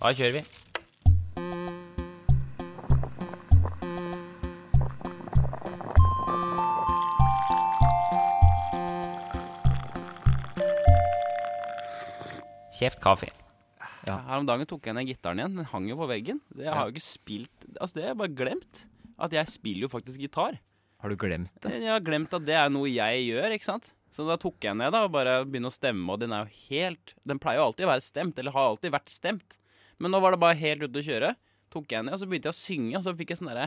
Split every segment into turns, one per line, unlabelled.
Da kjører vi. Kjeft kaffe.
Ja.
Her om dagen tok jeg ned gitaren igjen. Den hang jo på veggen. Det jeg har jo ikke spilt Altså, det har jeg bare glemt. At jeg spiller jo faktisk gitar.
Har du glemt det?
Jeg har glemt at det er noe jeg gjør, ikke sant? Så da tok jeg ned da, og bare begynne å stemme, og den er jo helt Den pleier jo alltid å være stemt, eller har alltid vært stemt. Men nå var det bare helt ute å kjøre. Tok jeg ned, og så begynte jeg å synge, og så fikk jeg sånn derre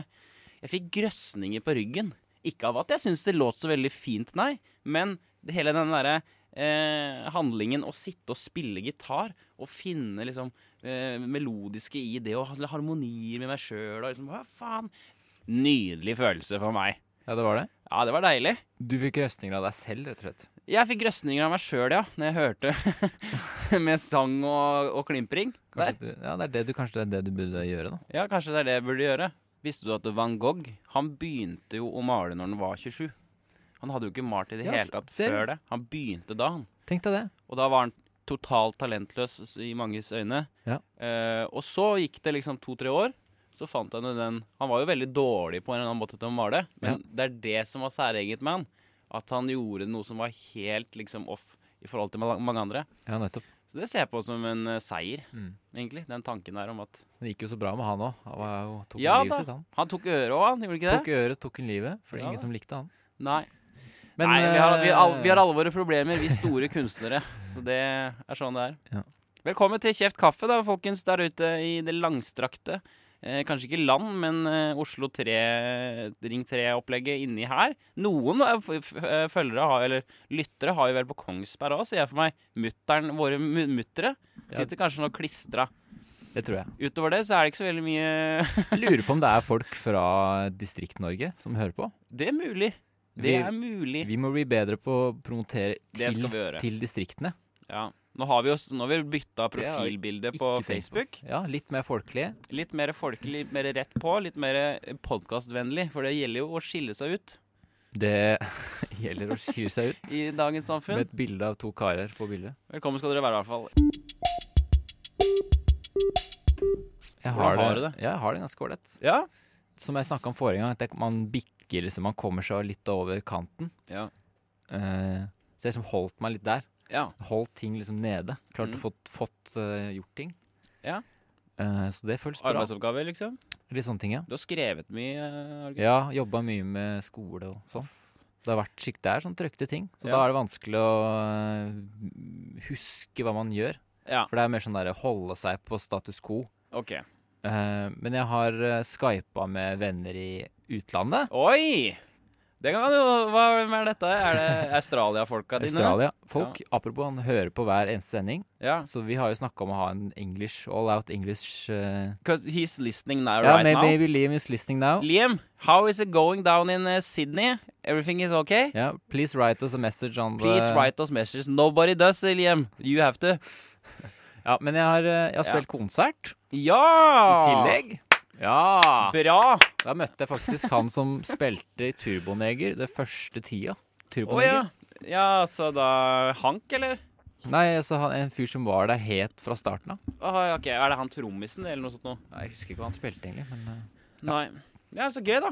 Jeg fikk grøsninger på ryggen. Ikke av at jeg syns det låt så veldig fint, nei, men det- hele den derre eh, handlingen å sitte og spille gitar og finne liksom eh, melodiske i det, og ha- harmonier med meg sjøl og liksom Hva faen? Nydelig følelse for meg.
Ja, det var det.
Ja, det var deilig.
Du fikk røstninger av deg selv, rett og slett.
Jeg fikk grøsninger av meg sjøl, ja, når jeg hørte med sang og, og klimpring. Der.
Kanskje du, ja, det er det du, kanskje det er det du burde gjøre, da.
Ja, kanskje det er det jeg burde gjøre. Visste du at Van Gogh han begynte jo å male når han var 27? Han hadde jo ikke malt i det
Ja,
hele
s-
tatt
ser du?
før det. Han begynte da, han.
Tenk deg det.
Og da var han totalt talentløs s- i manges øyne.
Ja.
Eh, og så gikk det liksom to-tre år. Så fant han jo den Han var jo veldig dårlig på en annen måte til å male, men det er det som var særeget med han. At han gjorde noe som var helt liksom off i forhold til ma- mange andre.
Ja, nettopp.
Så det ser jeg på som en eh, seier,
Mm.
egentlig. Den tanken der om at
Men det gikk jo så bra med han òg. Han var jo, tok
Ja
livet
da.
sitt, han.
Han tok øret òg, han gjorde ikke det?
Tok øret, tok hun livet, fordi
Ja da.
ingen som likte han.
Nei. Nei vi, har, vi, har all, vi har
eh,
alle våre problemer, vi store kunstnere. Så det er sånn det er.
Ja.
Velkommen til Kjeft kaffe, da, folkens, der ute i det langstrakte. Eh, kanskje ikke land, men eh, Oslo 3, Ring 3-opplegget inni her. Noen eh, f- f- eh, følgere har, eller lyttere har jo vel på Kongsberg òg, ser jeg for meg. Mutteren, våre mu- muttere
Ja.
sitter kanskje nå klistra.
eh, Det tror jeg.
Utover det så er det ikke så veldig mye
Lurer på om det er folk fra Distrikt-Norge som hører på.
Det er mulig.
Vi-
Det er mulig.
Vi må bli bedre på å promotere
Det
til,
skal vi gjøre.
til distriktene.
Ja. Nå har vi, jo s- nå har vi bytta
Det har jeg
profilbilde
ikke
på
tenkt på.
Facebook.
Ja, litt mer folkelige.
Litt mer folkelig, litt mer rett på, litt mer podkastvennlig. For det gjelder jo å skille seg ut
Det gjelder å skille seg ut
i dagens
med
samfunn.
et bilde av to karer på bildet.
Velkommen skal dere være, i hvert fall.
Jeg
Hvordan har du det?
Ja, jeg har det ganske ålreit.
Ja?
Som jeg snakka om forrige gang, at det- man bikker liksom Man kommer seg litt over kanten.
Ja.
Eh, så jeg liksom holdt meg litt der.
ja.
Holdt ting liksom nede. Klart
Mm.
å få fått eh, gjort ting.
Ja.
Eh, så det føles bra.
Arbeidsoppgaver, liksom.
Litt sånne ting, ja.
Du har skrevet mye. eh, Arge.
Ja, jobba mye med skole og sånn. Det har vært skikt der, sånn trøkte ting. Så
Ja.
da er det vanskelig å øh, huske hva man gjør.
Ja,
For det er mer sånn derre holde seg på status quo.
OK.
Eh, men jeg har uh, skypa med venner i utlandet.
Oi! Det kan jo Hva hvem er dette? Er det Australia-folka dine?
Australia. Folk, apropos, han hører på hver eneste sending.
Ja.
Så vi har jo snakka om å ha en English, all out English eh,
'Cause he's listening now,
Ja,
right
may-
now.
maybe Liam is listening now.
Liam, how is it going down in uh, Sydney? Everything is okay?
Yeah, please write us a message on
Please
the
write us messages. Nobody does, eh, Liam. You have to.
Ja, men jeg har, eh, jeg har
Ja. Ah.
spilt konsert i
Ja!
tillegg. Ja!
Bra!
Da møtte jeg faktisk han som spilte i Turboneger det første tida.
Å
Turboneger.
ja. Ja, så da Hank, eller?
Nei, altså han, En fyr som var der helt fra starten av.
Åh, ok, Er det han trommisen, eller noe sånt noe?
Nei, Jeg husker ikke hva han spilte, egentlig. Men eh,
Nei. Ja, så gøy, da.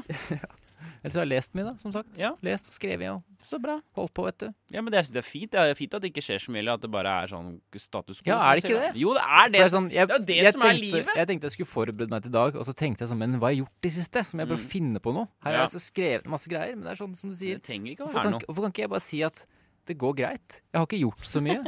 Ellers har jeg lest mye, da, som sagt.
Ja.
Lest og skrevet og
Så bra.
holdt på, vet du.
Ja, men det, er- det er fint. Det er fint at det ikke skjer så mye, eller at det bare er sånn status quo.
Ja,
som
er det
du
ikke
sier,
det?
da. Jo, det er
For
det.
er sånn, jeg,
det er jo det
jeg
som er
tenkte,
livet.
Jeg tenkte jeg skulle forberede meg til i dag, og så tenkte jeg sånn Men hva har jeg gjort i siste? Så må jeg bare finne på noe.
Mm. Ja.
Her har jeg altså skrevet masse greier, men det er sånn som du
Det
sier.
trenger ikke å
Hvorfor
være
kan,
noe.
ikke- hvorfor kan ikke jeg bare si at det går greit? Jeg har ikke gjort så mye.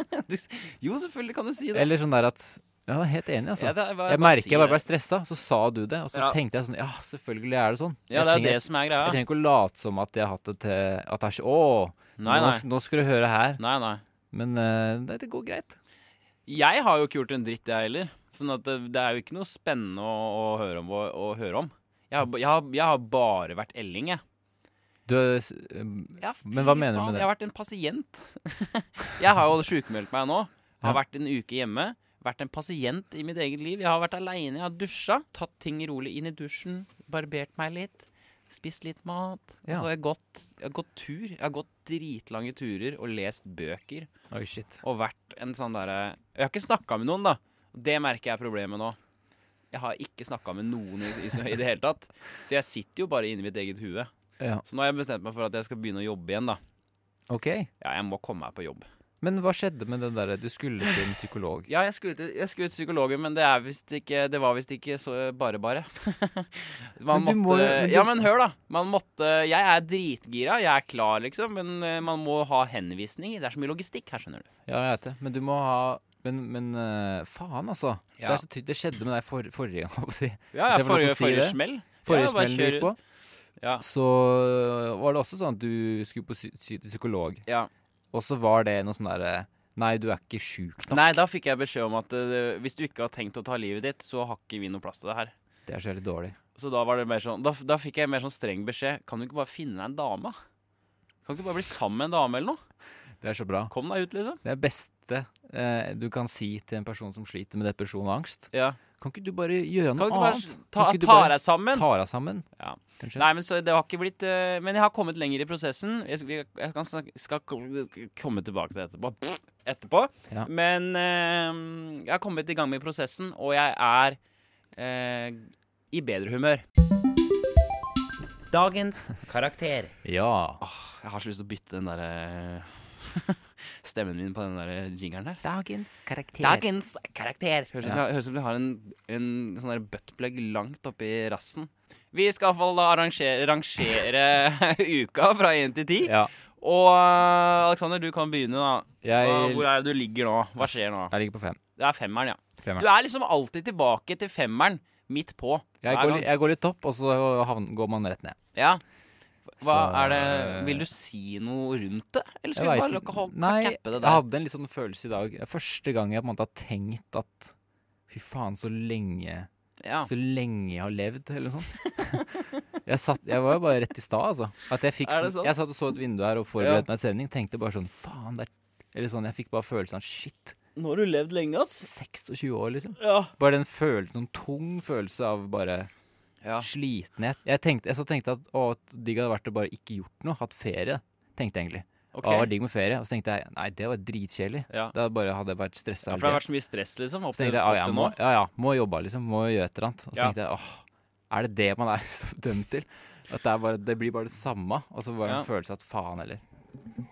Jo, selvfølgelig kan du si det.
Eller sånn der at Ja, jeg er helt enig, altså.
Ja, det er bare- bare
Jeg merker
si
jeg bare
det.
ble stressa, så sa du det. Og så
Ja.
tenkte jeg sånn Ja, selvfølgelig er det sånn.
Ja,
jeg,
det er
trenger,
det som er
jeg
greia.
trenger ikke å late som at jeg har hatt det til At det er så Å,
Nei,
nå,
nei.
nå skal du høre her.
Nei, nei.
Men eh, det, det går greit.
Jeg har jo ikke gjort en dritt, jeg heller. Sånn at det, det er jo ikke noe spennende å, å høre om. Å, å høre om. Jeg, har, ba- jeg, har, jeg har bare vært Elling, jeg.
Du, s- eh, Men hva mener du med det?
Jeg har vært en pasient. jeg har jo sjukmeldt meg nå. Har
Ja.
vært en uke hjemme. Vært en pasient i mitt eget liv. Jeg har vært aleine, jeg har dusja. Tatt ting rolig inn i dusjen. Barbert meg litt. Spist litt mat.
Ja.
Og så har jeg gått, jeg har gått tur. Jeg har gått dritlange turer og lest bøker.
Oi, shit.
og vært en sånn derre Jeg har ikke snakka med noen, da. Det merker jeg er problemet nå. Jeg har ikke snakka med noen i, i, i det hele tatt. Så jeg sitter jo bare inni mitt eget hue.
Ja.
Så nå har jeg bestemt meg for at jeg skal begynne å jobbe igjen, da.
Ok.
Ja, jeg må komme meg på jobb.
Men hva skjedde med det derre Du skulle til en psykolog.
Ja, jeg skulle til, jeg skulle til psykologen, men det, er visst ikke, det var visst ikke så bare-bare. man
Men
måtte
du må jo- men du-
Ja, men hør, da. Man måtte Jeg er dritgira, jeg er klar, liksom, men eh, man må ha henvisninger. Det er så mye logistikk her, skjønner du.
Ja, jeg vet det. Men du må ha Men, men eh, faen, altså.
Ja.
Det, er så tydelig, det skjedde med deg for, forrige gang, holdt jeg på å si.
Ja,
Hvis jeg får lov til
forrige,
å si
forrige
det?
smell.
Forrige
Ja, bare
smell du gikk
kjør
på.
Ja.
Så var det også sånn at du skulle på psy psy- til psykolog,
Ja.
og så var det noe sånn derre Nei, du er ikke sjuk nok.
Nei, da fikk jeg beskjed om at eh, hvis du ikke har tenkt å ta livet ditt, så har ikke vi noe plass til det her.
Det er så jævlig dårlig.
Så da var det mer sånn Da, da fikk jeg mer sånn streng beskjed. Kan du ikke bare finne deg en dame? da? Kan du ikke bare bli sammen med en dame eller noe?
Det er så bra.
Kom deg ut, liksom.
Det er beste eh, du kan si til en person som sliter med depresjon og angst.
Ja.
Kan ikke du bare gjøre
Kan
noe
du ikke
annet?
bare ta,
Kan ikke du
ta
bare
deg sammen?
ta deg sammen?
Ja.
Kanskje?
Nei, men så det har ikke blitt eh, Men jeg har kommet lenger i prosessen. Jeg, skal- vi- jeg kan snakke, skal ko- komme tilbake til det etterpå. etterpå.
Ja.
Men eh, jeg har kommet i gang med prosessen, og jeg er eh, i bedre humør. Dagens karakter.
Ja.
Jeg har så lyst til å bytte den derre stemmen min på den der jingeren her.
Dagens karakter.
Dagens karakter. Høres ut som
Ja.
vi- høres ut som vi har en, en sånn der buttplug langt oppi rassen. Vi skal iallfall da arrangere, rangere uka fra én til ti.
Ja.
Og uh, Aleksander, du kan begynne, da. Hva-
Jeg,
Hvor er det du ligger nå? Hva skjer nå?
jeg ligger på fem.
Det er femmeren, ja.
Femmeren.
Du er liksom alltid tilbake til femmeren midt på.
Jeg
Hver
går,
gang.
li- jeg går litt opp, og så havn- går man rett ned.
Ja. Hva
Så- eh,
er det Vil du si noe rundt det, eller skal
Jeg
vi
vet
bare
ikke.
lukke hånd
Nei,
kappe det
Jeg
der?
hadde en litt sånn følelse i dag. Det er Første gang jeg på en måte har tenkt at fy faen, så lenge
Ja.
Så lenge jeg har levd, eller noe sånt. jeg, satt, jeg var jo bare rett i stad, altså. At jeg, fikk
Er det
sånn,
sant?
jeg satt og så et vindu her og forberedte meg til sending. Tenkte bare sånn faen, det er Eller sånn, jeg fikk bare følelsen av shit,
Nå har du levd lenge, ass.
26 år, liksom.
Ja.
Bare den følelsen, sånn tung følelse av bare
Ja.
slitenhet. Jeg, tenkte, jeg så tenkte at å, at digg hadde vært å bare ikke gjort noe, hatt ferie. Tenkte jeg egentlig.
Ok.
Å, det var digg med ferie. Og så tenkte jeg nei, det var dritkjedelig.
Ja.
Da bare hadde jeg vært stressa.
Ja, for det har vært så mye stress, liksom. Opp
så
til,
tenkte jeg ah,
opp
ja,
til
må,
nå.
ja, ja, må jobbe, liksom. Må gjøre et eller annet. Og så
Ja.
tenkte jeg åh, er det det man er så dømt til? At det, er bare, det blir bare det samme. Og så var det en
Ja.
følelse at faen heller.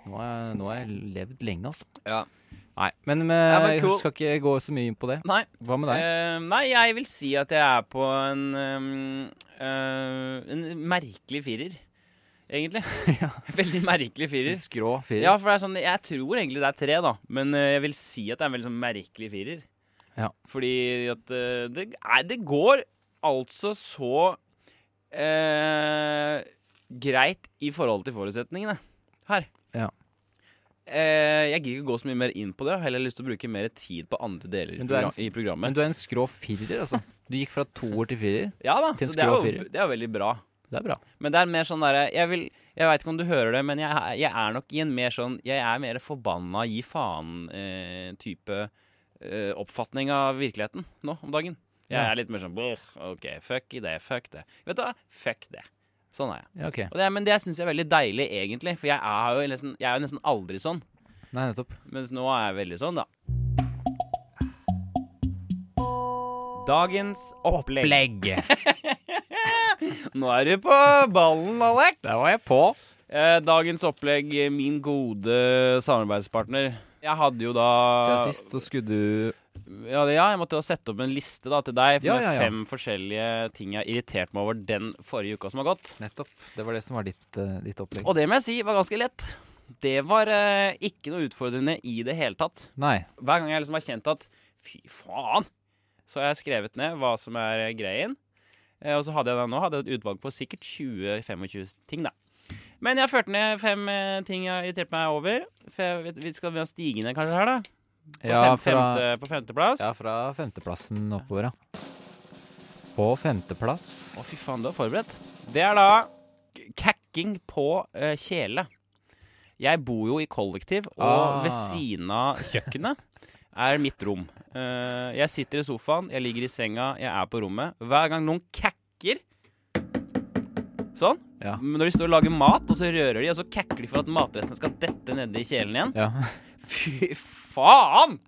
Nå har jeg, nå har jeg levd lenge, altså.
Ja.
Nei, men, men
Ja, men
jeg
cool.
skal ikke gå så mye inn på det.
Nei.
Hva med deg?
eh, nei, jeg vil si at jeg er på en eh, eh, En merkelig firer, egentlig. Veldig merkelig
En
firer.
Skrå firer?
Ja, for det er sånn, jeg tror egentlig det er tre, da. Men eh, jeg vil si at det er en veldig sånn merkelig firer.
Ja.
Fordi at eh, det, nei, det går altså så eh, greit i forhold til forutsetningene her.
Ja.
Eh, jeg gidder ikke gå så mye mer inn på det. Jeg har heller lyst til å bruke mer tid på andre deler i
Men du er en
progra-
s-
i programmet.
Men du er en skrå firer, altså. Du gikk fra toer til firer.
Ja da,
til en
så det er,
skrå
jo,
firer.
det er jo veldig bra.
Det er bra.
Men det er mer sånn derre Jeg, vil- jeg veit ikke om du hører det, men jeg, er- jeg er nok i en mer sånn Jeg er mer forbanna gi faen-type eh, oppfatning av virkeligheten nå om dagen. Jeg
Ja.
er litt mer sånn «Brr, OK, fuck i det, fuck det. Vet du hva? Fuck det. Sånn er jeg.
Ja, ok.
Og det, er- men det syns jeg er veldig deilig, egentlig. For jeg er jo nesten, jeg er jo nesten aldri sånn.
Nei, nettopp.
Mens nå er jeg veldig sånn, da. Dagens opplegg.
Blegg!
Nå er du på ballen, Alek.
Der var jeg på.
Eh, Dagens opplegg, eh, min gode samarbeidspartner. Jeg hadde jo da
Siden sist så skulle du
ja, det- ja, jeg måtte jo sette opp en liste da, til deg
Ja,
med
ja, ja.
fem forskjellige ting jeg irriterte meg over den forrige uka som har gått.
Nettopp. Det var det som var ditt, eh, ditt opplegg.
Og det må jeg si var ganske lett. Det var eh, ikke noe utfordrende i det hele tatt.
Nei.
Hver gang jeg liksom har kjent at fy faen, så har jeg skrevet ned hva som er eh, greien. Eh, og så hadde jeg da nå hadde jeg et utvalg på sikkert 20-25 ting, da. Men jeg førte ned fem eh, ting jeg har irritert meg over. For jeg vet, vi skal vi ha stigende kanskje her, da? På,
Ja,
fem,
fra,
femte, på femteplass.
ja, fra femteplassen oppover, ja. På
Å,
femteplass
fy faen, du er forberedt. Det er da k- kakking på eh, kjele. Jeg bor jo i kollektiv, og
Ah.
ved siden av kjøkkenet er mitt rom. Eh, jeg sitter i sofaen, jeg ligger i senga, jeg er på rommet. Hver gang noen kakker Sånn.
Ja.
Men Når de står og lager mat, og så rører de, og så kakker de for at matrestene skal dette nedi kjelen igjen.
Ja.
Fy faen!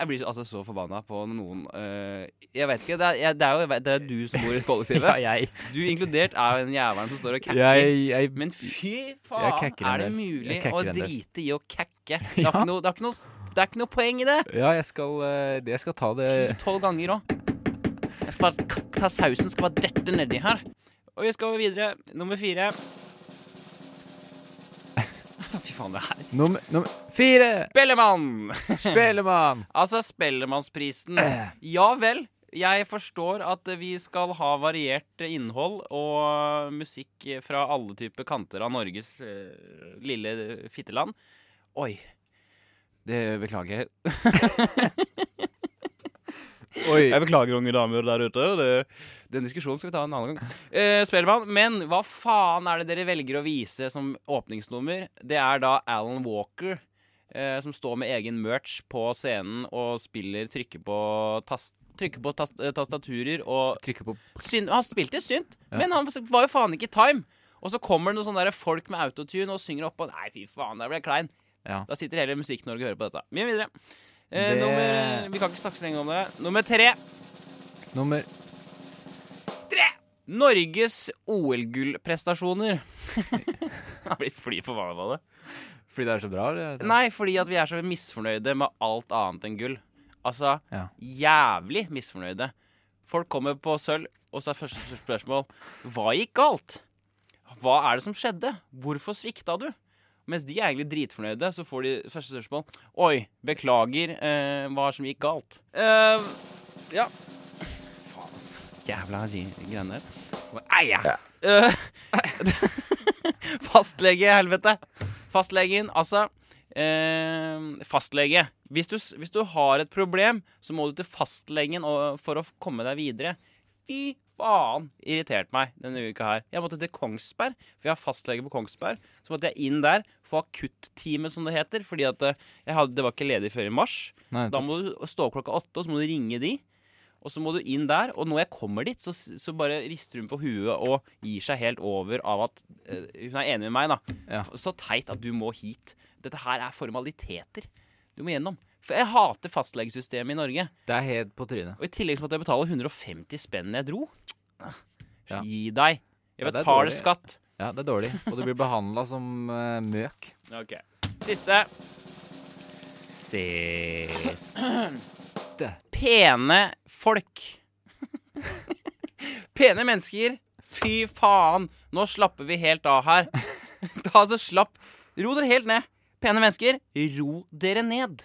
Jeg blir så- altså så forbanna på noen øh, Jeg vet ikke. Det er, jeg, det er jo det er du som bor i kollektivet.
jeg,
Du inkludert er jo den jævelen som står og kakker.
jeg, jeg
Men fy
Jeg
faen,
kakker en
er det
del.
mulig
Jeg
å
kakker en del.
drite i å kakke? Det er ikke noe, det er ikke noe, s- det er ikke noe poeng i det.
Ja, jeg skal, eh, det- jeg skal ta det
Ti-tolv ganger òg. Jeg skal bare k- ta sausen, skal bare dette nedi her. Og vi skal videre. Nummer fire. Fy faen, det her
Nummer, nummer fire!
Spellemann!
Spellemann!
Altså Spellemannsprisen. Ja vel. Jeg forstår at vi skal ha variert innhold og musikk fra alle typer kanter av Norges eh, lille fitteland. Oi. Det beklager jeg.
Oi.
Jeg beklager, unge damer der ute. Det, den diskusjonen skal vi ta en annen gang. Eh, Spellemann, men hva faen er det dere velger å vise som åpningsnummer? Det er da Alan Walker. eh, som står med egen merch på scenen og spiller, trykker på, tast, trykker på tast, eh, tastaturer og
Trykker på
Syn- han spilte synt, men han var jo faen ikke i time. Og så kommer det noen sånne der folk med autotune og synger oppå. Nei, fy faen, der ble jeg klein.
Ja.
Da sitter hele Musikk-Norge og hører på dette. Vi er videre. Eh,
Det-
nummer, vi kan ikke snakke så lenge om det. Nummer tre.
nummer
Norges OL-gullprestasjoner. Jeg har blitt fly forbanna på det.
Fordi det er så bra? eller?
Nei, fordi at vi er så misfornøyde med alt annet enn gull. Altså
Ja.
jævlig misfornøyde. Folk kommer på sølv, og så er første spørsmål Hva gikk galt? Hva er det som skjedde? Hvorfor svikta du? Mens de er egentlig dritfornøyde, så får de første spørsmål Oi, beklager, eh, hva er det som gikk galt? Eh, ja Faen, ass. Jævla gi- greiene der. Eia! Eh, fastlege, helvete. Fastlegen, altså. Eh, fastlege. Hvis du, s- hvis du har et problem, så må du til fastlegen og, for å f- komme deg videre. Fy faen, irritert meg denne uka her. Jeg måtte til Kongsberg, for jeg har fastlege på Kongsberg. Så måtte jeg inn der, få akuttime, som det heter, fordi at eh, jeg hadde, det var ikke ledig før i mars.
Nei,
Da må du stå opp klokka åtte, og så må du ringe de. Og så må du inn der, og når jeg kommer dit, så, så bare rister hun på huet og gir seg helt over av at eh, Hun er enig med meg, da.
Ja.
F- Så teit at du må hit. Dette her er formaliteter du må gjennom. For jeg hater fastlegesystemet i Norge.
det er helt på trynet.
Og i tillegg så måtte jeg betale 150 spenn jeg dro.
Ja.
Gi deg. Jeg
Ja, det er
betaler
dårlig.
skatt.
Ja, det er dårlig. Og du blir behandla som eh, møk.
Ok. Siste.
Siste
Pene folk. Pene mennesker. Fy faen, nå slapper vi helt av her. Ta altså slapp Ro dere helt ned. Pene mennesker, ro dere ned.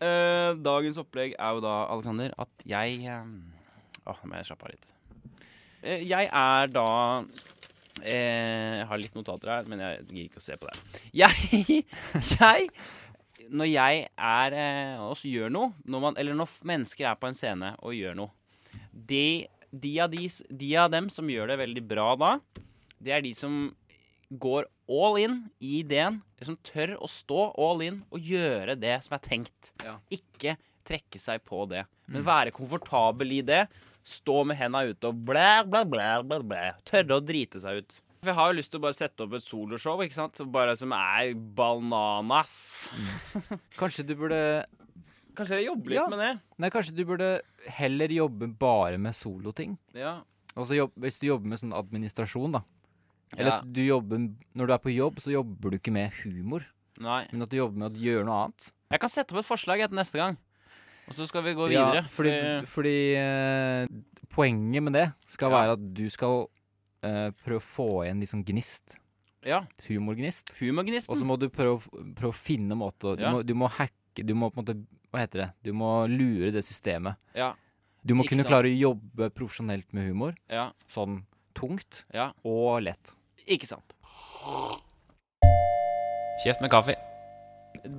Eh, dagens opplegg er jo da, Alexander, at jeg eh, Åh, nå må jeg slappe av litt. Eh, jeg er da eh, Jeg har litt notater her, men jeg gir ikke å se på det. Jeg, jeg når jeg er eh, og så gjør noe, når man, eller når f- mennesker er på en scene og gjør noe de, de, av de, s- de av dem som gjør det veldig bra da, det er de som går all in i ideen, eller som tør å stå all in og gjøre det som er tenkt.
Ja.
Ikke trekke seg på det, men være komfortabel i det. Stå med henda ute og blæ, blæ, blæ, blæ, blæ. Tørre å drite seg ut. For Jeg har jo lyst til å bare sette opp et soloshow ikke sant? Bare som er bananas.
Kanskje du burde
Kanskje jeg jobber litt
Ja.
med det.
Nei, kanskje du burde heller jobbe bare med soloting.
Ja.
Og så jobb, hvis du jobber med sånn administrasjon, da. Eller
Ja.
at du jobber Når du er på jobb, så jobber du ikke med humor,
Nei.
men at du jobber med å gjøre noe annet.
Jeg kan sette opp et forslag etter neste gang. Og så skal vi gå
Ja,
videre.
fordi
Eh,
fordi eh, poenget med det skal
Ja.
være at du skal eh, prøve å få igjen liksom gnist.
ja.
Humorgnist. Og så
Humorgnisten.
må du prøve, å f- prøve å finne en måte å du,
Ja.
må, du må hacke Du må på en måte Hva heter det? Du må lure det systemet.
Ja.
Du må
Ikke
kunne
sant.
klare å jobbe profesjonelt med humor.
ja.
Sånn tungt
Ja.
og lett.
Ikke sant. Kjeft med kaffe.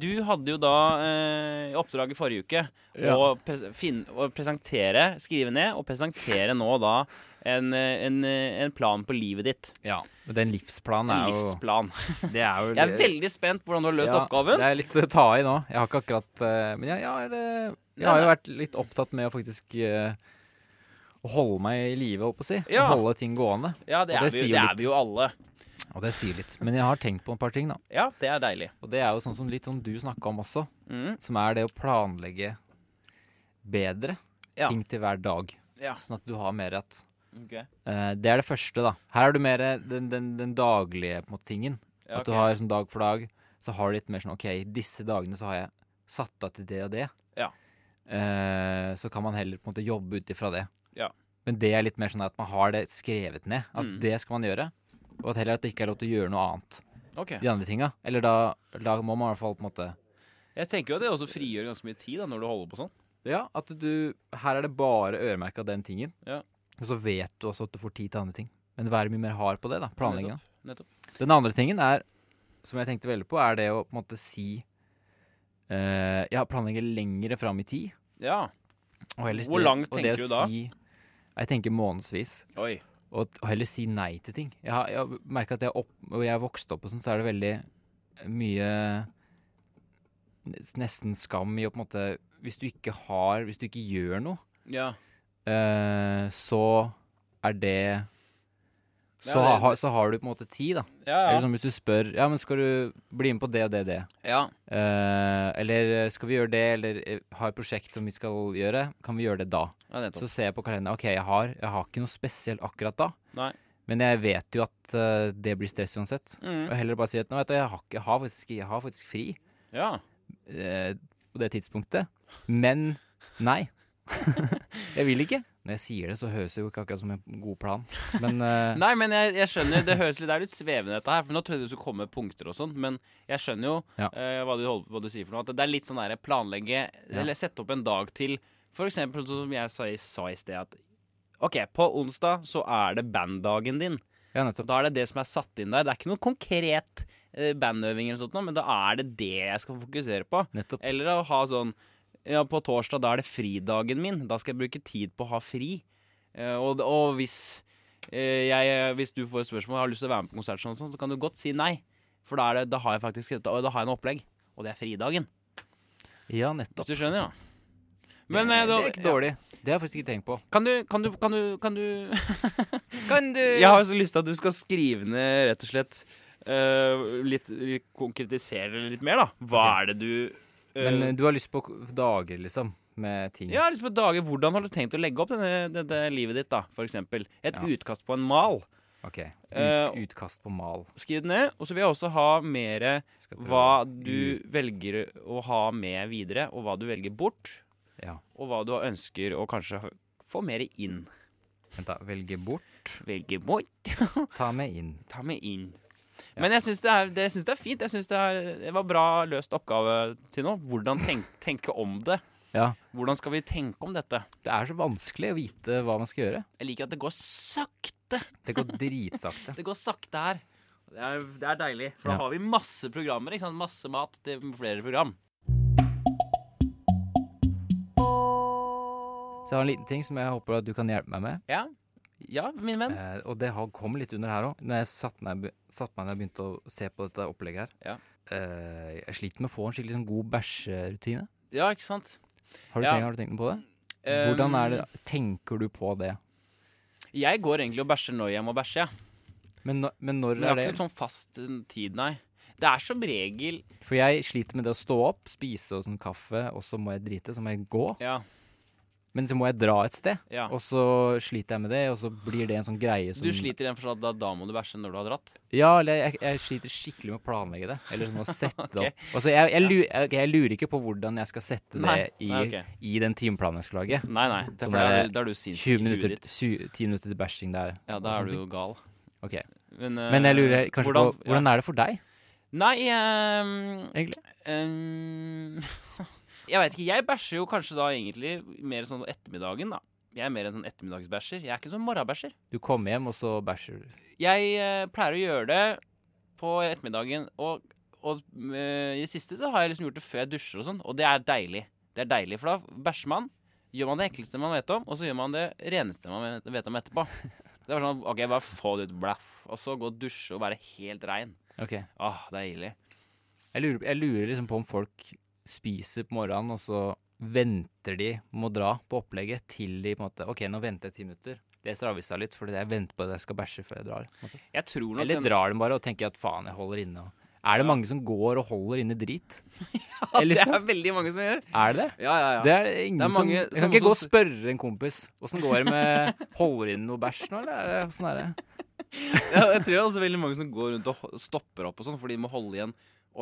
Du hadde jo da eh, i oppdrag i forrige uke
Ja.
å, pres fin- å presentere, skrive ned, og presentere nå da en, eh, en, eh, en plan på livet ditt.
Ja. Men den livsplanen
En
er jo,
livsplan.
det er jo
Jeg er veldig spent på hvordan du har løst
Ja,
oppgaven.
Det er litt å ta i nå. Jeg har ikke akkurat eh, Men jeg, jeg, har, eh, jeg
Nei,
har jo
nei.
vært litt opptatt med å faktisk eh, å holde meg i live, holdt på å si.
Ja.
Holde ting gående.
Ja, det,
Og
er
det
vi, jo-
sier jo
det
litt.
er vi jo alle.
Og det sier litt. Men jeg har tenkt på et par ting, da.
Ja, det er deilig.
Og det er jo sånn som litt sånn du snakka om også,
Mm.
som er det å planlegge bedre
Ja.
ting til hver dag.
Ja.
Sånn at du har mer at
ok.
eh, Det er det første, da. Her er du mer den, den, den daglige på en måte, tingen.
Ja,
At du
ok.
har sånn dag for dag, så har du litt mer sånn OK, disse dagene så har jeg satt av til det og det.
Ja.
Eh, så kan man heller på en måte jobbe ut ifra det.
Ja.
Men det er litt mer sånn at man har det skrevet ned. At
Mm.
det skal man gjøre. Og at heller at det ikke er lov til å gjøre noe annet.
Ok.
De andre tinga. Eller da, da må man i hvert fall på en måte
Jeg tenker jo at det også frigjør ganske mye tid da, når du holder på sånn.
Ja, at du Her er det bare øremerka den tingen.
Ja.
Og så vet du også at du får tid til andre ting. Men være mye mer hard på det, da. Planlegginga.
Nettopp. nettopp.
Den andre tingen er, som jeg tenkte veldig på, er det å på en måte si eh, Ja, planlegge lengre fram i tid.
Ja.
Og heller-
Hvor langt
og det
tenker
å
du da?
Si, jeg tenker månedsvis.
Oi.
Og, at- og heller si nei til ting. Jeg har, jeg har merka at jeg, opp, og jeg har vokst opp og sånn, så er det veldig mye nes- Nesten skam i å på en måte Hvis du ikke har Hvis du ikke gjør noe,
Ja.
eh, så er det
Ja,
så, ha-
det-
ha, så har du på en måte tid, da.
Ja,
Eller
ja.
sånn hvis du spør Ja, men skal du bli med på det og det og det?
ja.
Eh, eller eh, skal vi gjøre det, eller eh, ha et prosjekt som vi skal gjøre, kan vi gjøre det da?
ja nettopp.
Så ser jeg på kalenderen, ok, jeg har, jeg har ikke noe spesielt akkurat da,
Nei.
men jeg vet jo at eh, det blir stress uansett. Og
Mm.
heller bare si at nå vet du, jeg har, ikke, jeg har, faktisk, jeg har faktisk fri
Ja.
eh, på det tidspunktet, men nei. jeg vil ikke. Når jeg sier det, så høres det jo ikke akkurat som en god plan. Men eh,
Nei, men jeg, jeg skjønner, det høres litt, det er litt svevende dette her, for nå trodde jeg du skulle komme med punkter og sånn, men jeg skjønner jo
Ja.
eh, hva, du holder, hva du sier for noe, at det er litt sånn der planlegge,
Ja.
eller sette opp en dag til, for eksempel sånn som jeg sa i, sa i sted, at ok, på onsdag så er det banddagen din,
ja, nettopp.
da er det det som er satt inn der, det er ikke noe konkret eh, bandøving eller sånt nå, men da er det det jeg skal fokusere på,
nettopp.
eller å ha sånn Ja, på torsdag da er det fridagen min. Da skal jeg bruke tid på å ha fri. Eh, og, og hvis eh, jeg Hvis du får et spørsmål har du lyst til å være med på konsert, sånn, og sånn, så kan du godt si nei. For da, er det, da har jeg faktisk da, da har jeg noe opplegg. Og det er fridagen.
Ja, nettopp.
Hvis du skjønner, ja. Men eh,
det
da,
er ikke dårlig. Det har jeg faktisk ikke tenkt på.
Ja. Kan du Kan du, kan du, kan du
Kan du
Jeg har så lyst til at du skal skrive ned, rett og slett eh, litt, litt Konkretisere det litt mer, da. Hva er det du eh,
Men eh, du har lyst på k- dager, liksom, med ting.
Ja, liksom på dager, Hvordan har du tenkt å legge opp denne, dette livet ditt, da? For eksempel. Et
Ja.
utkast på en mal.
Ok. Ut,
Eh,
utkast på mal.
Skriv det ned. Og så vil jeg også ha mer
Skal prøve.
hva du velger å ha med videre, og hva du velger bort.
Ja.
Og hva du ønsker å kanskje få mer inn.
Vent, da. Velge bort.
Velge bort.
Ta med inn.
Ta meg inn. Men jeg syns det, er- det, jeg synes det er fint. Jeg synes det, er, det var bra løst oppgave til nå. Hvordan tenk, tenke om det.
Ja.
Hvordan skal vi tenke om dette?
Det er så vanskelig å vite hva man skal gjøre.
Jeg liker at det går sakte.
Det går dritsakte.
Det går sakte her. Det er, det er deilig, for
Ja.
da har vi masse programmer. ikke sant? Masse mat til flere program.
Så jeg har en liten ting som jeg håper at du kan hjelpe meg med.
Ja, ja min venn.
Eh, og det har kom litt under her òg. Når jeg satte meg, be- satt meg ned og begynte å se på dette opplegget her
Ja.
eh, Jeg sliter med å få en skikkelig sånn god bæsjerutine.
Ja, ikke sant? Ehm,
Har du,
Ja. Eh, mm.
tenkt, har du tenkt på det? Hvordan er det, tenker du på det?
Um, Jeg går egentlig og bæsjer når jeg må bæsje. jeg.
Men, nå- men når
Men jeg
er
har
det?
ikke noen sånn fast eh, tid, nei. Det er som regel
For jeg sliter med det å stå opp, spise og sånn kaffe, og så må jeg drite, så må jeg gå.
Ja.
Men så må jeg dra et sted,
ja.
og så sliter jeg med det, og så blir det en sånn greie som
Du sliter i den forstand at da, da må du bæsje når du har dratt?
Ja, eller jeg, jeg sliter skikkelig med å planlegge det. Eller sånn å sette
Ok.
det opp. Altså, jeg, jeg, lu- ok, jeg lurer ikke på hvordan jeg skal sette det
Nei,
i,
nei, ok.
i den timeplanen jeg skal lage.
Nei, nei. Det
Sånn
er, for da
der,
er du- da er du sinnssyk
20
i huet
minutter,
ditt.
20, 10 minutter til bæsjing der.
Ja, da er du jo gal.
Ok.
Men, eh,
Men jeg lurer kanskje
hvordan,
på Hvordan er det for deg,
ja. Nei, um,
egentlig?
Ehm, jeg veit ikke. Jeg bæsjer jo kanskje da egentlig mer sånn ettermiddagen, da. Jeg er mer en sånn ettermiddagsbæsjer. Jeg er ikke sånn morgenbæsjer.
Du kommer hjem, og så bæsjer du.
Jeg eh, pleier å gjøre det på ettermiddagen, og, og eh, i det siste så har jeg liksom gjort det før jeg dusjer og sånn, og det er deilig. Det er deilig, for da bæsjer man, gjør man det ekleste man vet om, og så gjør man det reneste man vet- vet om etterpå. Det var sånn OK, bare få det ut, blaff, og så gå og dusje og være helt rein.
Ok.
Åh, deilig.
Jeg lurer, jeg lurer liksom på om folk spiser på morgenen, og så venter de med å dra på opplegget til de på en måte Ok, nå venter jeg ti minutter. leser avisa litt fordi jeg venter på at jeg skal bæsje før jeg drar. på en måte.
Jeg tror nok
Eller
den,
drar den bare og tenker at faen, jeg holder inne. Og... Er det mange som går og holder inne drit?
Ja, det
liksom.
er veldig mange som gjør.
Er det det?
Ja, ja, ja.
Det er ingen
Det er mange
som Jeg
som
kan ikke
også
gå og spørre en kompis åssen går det med Holder inn noe bæsj nå, eller? Er det, sånn hvordan er det?
Ja, jeg tror det er også veldig mange som går rundt og ho- stopper opp og sånn, for de må holde igjen.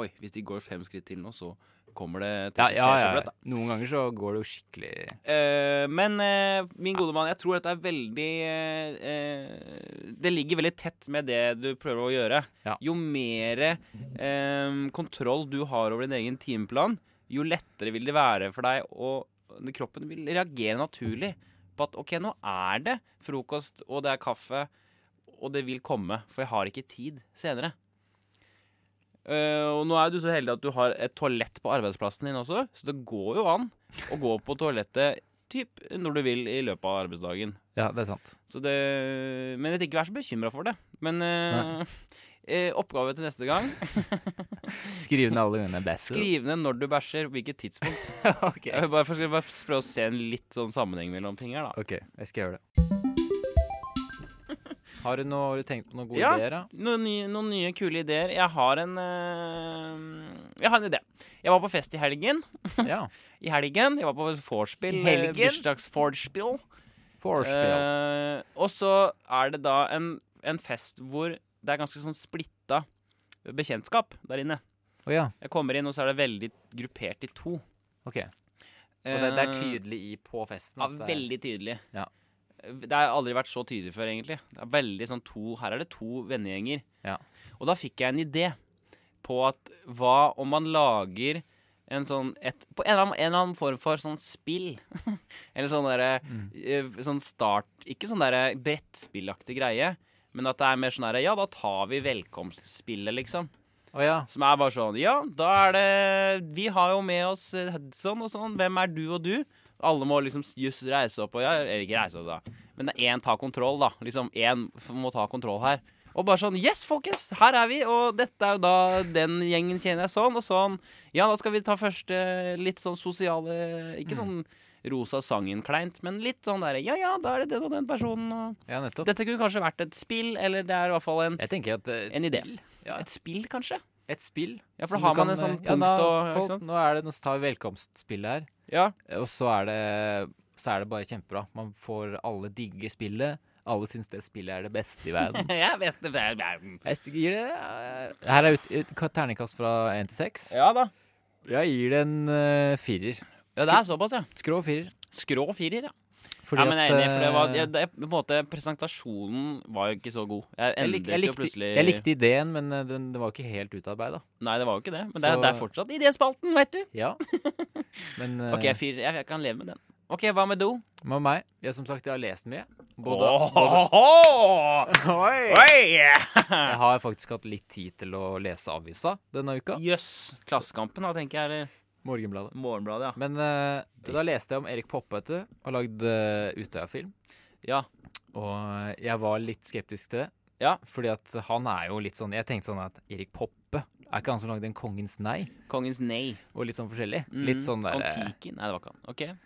Oi, hvis de går fem skritt til nå, så kommer det
Ja,
tes-
ja, ja.
tesjebrett, da.
Noen ganger så går det jo skikkelig
Eh, men eh, min gode mann, jeg tror dette er veldig eh, eh, Det ligger veldig tett med det du prøver å gjøre.
Ja.
Jo mer eh, kontroll du har over din egen timeplan, jo lettere vil det være for deg å Kroppen vil reagere naturlig på at OK, nå er det frokost, og det er kaffe, og det vil komme, for jeg har ikke tid senere. Eh, og nå er du så heldig at du har et toalett på arbeidsplassen din også, så det går jo an å gå på toalettet typ når du vil i løpet av arbeidsdagen.
Ja, det er sant.
Så det, men jeg tenker ikke vær så bekymra for det. Men eh, eh, oppgave til neste gang
Skriv ned alle gangene jeg bæsjer.
Skriv ned når du bæsjer, og hvilket tidspunkt.
Ok.
Jeg vil bare, for, skal bare prøve å se en litt sånn sammenheng mellom ting her, da.
OK, jeg skal gjøre det. Har du, noe, har du tenkt på noen gode
Ja.
ideer, da?
Noen nye, noen nye kule ideer. Jeg har en eh, Jeg har en idé. Jeg var på fest i helgen.
Ja.
I helgen. Jeg var på vorspiel.
I
eh,
helgen?
Bursdagsvorspiel.
Vorspiel.
Eh, og så er det da en, en fest hvor det er ganske sånn splitta bekjentskap der inne.
Å ja.
Jeg kommer inn, og så er det veldig gruppert i to.
OK. Eh, Og det, det er tydelig i på festen?
Ja,
at eh, det er-
veldig tydelig.
Ja.
Det har aldri vært så tydelig før, egentlig. Det er veldig sånn to, Her er det to vennegjenger.
Ja.
Og da fikk jeg en idé på at hva om man lager en sånn et, På en eller, annen, en eller annen form for sånn spill. eller sånn derre
Mm.
eh, Sånn start Ikke sånn derre brettspillaktig greie, men at det er mer sånn derre Ja, da tar vi velkomstspillet, liksom.
Å ja.
Som er bare sånn Ja, da er det Vi har jo med oss eh, sånn og sånn. Hvem er du og du? Alle må liksom just reise opp og ja, Eller ikke reise opp, da. Men det er én tar kontroll, da. Liksom én f- må ta kontroll her. Og bare sånn Yes, folkens! Her er vi! Og dette er jo da den gjengen kjenner jeg sånn og sånn. Ja, da skal vi ta første litt sånn sosiale Ikke
Mm.
sånn rosa sangen kleint, men litt sånn derre Ja, ja, da er det den og den personen og
ja, nettopp.
Dette kunne kanskje vært et spill, eller det er i hvert fall en,
Jeg tenker at eh, et
En idé.
spill- Ja,
et spill, kanskje.
et spill.
Ja, for
som
da har
du
man
kan,
en sånn
eh,
punkt
da,
og- ikke
folk,
sant?
Nå, er det, nå tar vi velkomstspillet her.
Ja.
Eh, Og så er det Så er det bare kjempebra. Man får alle digge spillet. Alle syns det spillet er det beste i verden.
Jeg vet det. det er- det er-
Jeg st- gir det eh, Her er ut, ut, ka- terningkast fra én til seks.
Ja da.
Jeg gir det en eh, firer.
Ja, det er såpass, ja.
Skrå firer.
Skrå firer, ja.
Fordi
ja men jeg er
at,
enig, for det var,
eh,
jeg, det, på en måte, presentasjonen var jo ikke så god. Jeg
jeg,
endret
lik, jeg,
jo
likte,
plutselig
jeg likte ideen, men eh, den, den var ikke helt utarbeida.
Nei, det var jo ikke det. Men det, er-
Så-
det er fortsatt idéspalten, vet du.
Ja. Men eh,
OK, firer. Jeg, jeg kan leve med den. OK, hva med do?
med meg Jeg som sagt, jeg har lest mye. Både, både,
Åhåhå! Oi!
jeg har faktisk hatt litt tid til å lese avisa denne uka.
Jøss. Klassekampen, da, tenker jeg. Eller
Morgenbladet.
Morgenbladet,
Men eh, da leste jeg om Erik Poppe, vet du. Har lagd eh, Utøya-film.
ja. Ja.
Og eh, jeg var litt skeptisk til det.
Ja.
Fordi at han er jo litt sånn Jeg tenkte sånn at Erik Poppe er ikke han som lagde en Kongens nei?
Kongens nei.
Og litt sånn forskjellig.
Mm.
Litt sånn der
Kong
eh,
Tiki? Nei, det var ikke han. OK.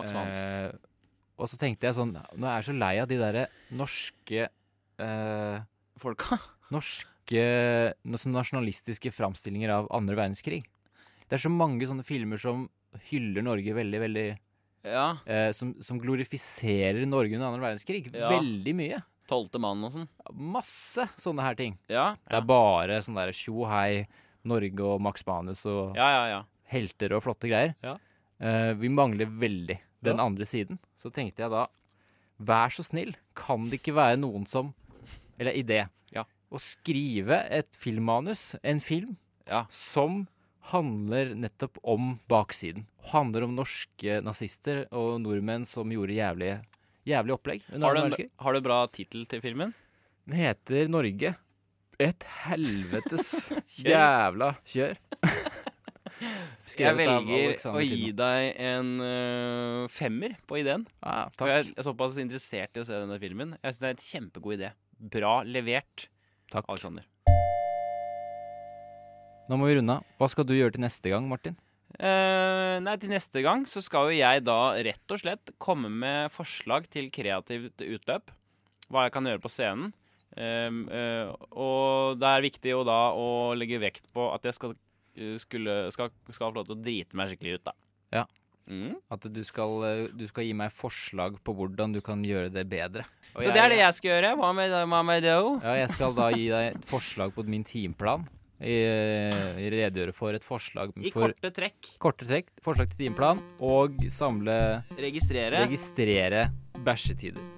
Max Manus.
eh, Og så tenkte jeg sånn Nå er jeg så lei av de derre norske eh,
Folka?
Norske no- sånne nasjonalistiske framstillinger av andre verdenskrig. Det er så mange sånne filmer som hyller Norge veldig, veldig
Ja.
eh, som, som glorifiserer Norge under andre verdenskrig.
Ja.
Veldig mye.
Tolvte mann og sånn.
Masse sånne her ting.
Ja.
Det
Ja,
er bare sånn derre tjo hei, Norge og Max Manus og
ja, ja.
helter og flotte greier.
Ja.
Eh, vi mangler veldig den
Ja.
andre siden. Så tenkte jeg da, vær så snill, kan det ikke være noen som Eller idé.
Ja.
Å skrive et filmmanus, en film,
Ja.
som handler nettopp om baksiden. Handler om norske nazister og nordmenn som gjorde jævlige, jævlig opplegg. under
Har du,
andre
en,
verdenskrig.
har du bra tittel til filmen?
Den heter Norge. Et helvetes
Kjør.
jævla kjør.
Jeg
Skrevet av
velger å
Alexander
gi
Tidemand.
deg en øh, femmer på ideen.
Ja,
For
takk.
jeg er såpass interessert i å se denne filmen. Jeg synes det er en kjempegod idé. Bra levert,
Takk.
Alexander.
Nå må vi runde av. Hva skal du gjøre til neste gang, Martin?
Eh, nei, til neste gang så skal jo jeg da rett og slett komme med forslag til kreativt utløp. hva jeg kan gjøre på scenen. Ehm, eh, og det er viktig å da å legge vekt på at jeg skal, eh, skulle, skal, skal få lov til å drite meg skikkelig ut, da.
Ja.
Mm.
At du skal, eh, du skal gi meg forslag på hvordan du kan gjøre det bedre. Og
Så det er det jeg skal gjøre. Hva med, hva med det? jo?
Ja, jeg skal da gi deg et forslag på min timeplan. I- i Redegjøre for et forslag
I
for
korte trekk.
korte trekk, forslag til timeplan, og samle
Registrere.
Registrere bæsjetider.